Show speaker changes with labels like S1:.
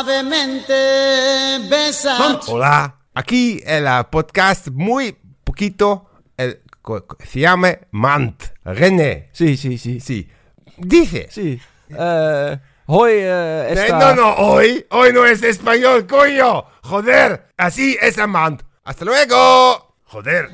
S1: Suavemente besa.
S2: Hola, aquí el ah, podcast muy poquito, el, co- co- se llama Mant, René,
S3: Sí, sí, sí. Sí.
S2: sí, dice,
S3: Eh, hoy eh,
S2: Eh, no,
S3: esta...
S2: no, hoy, hoy no es español, coño, joder, así es Mant, hasta luego, joder.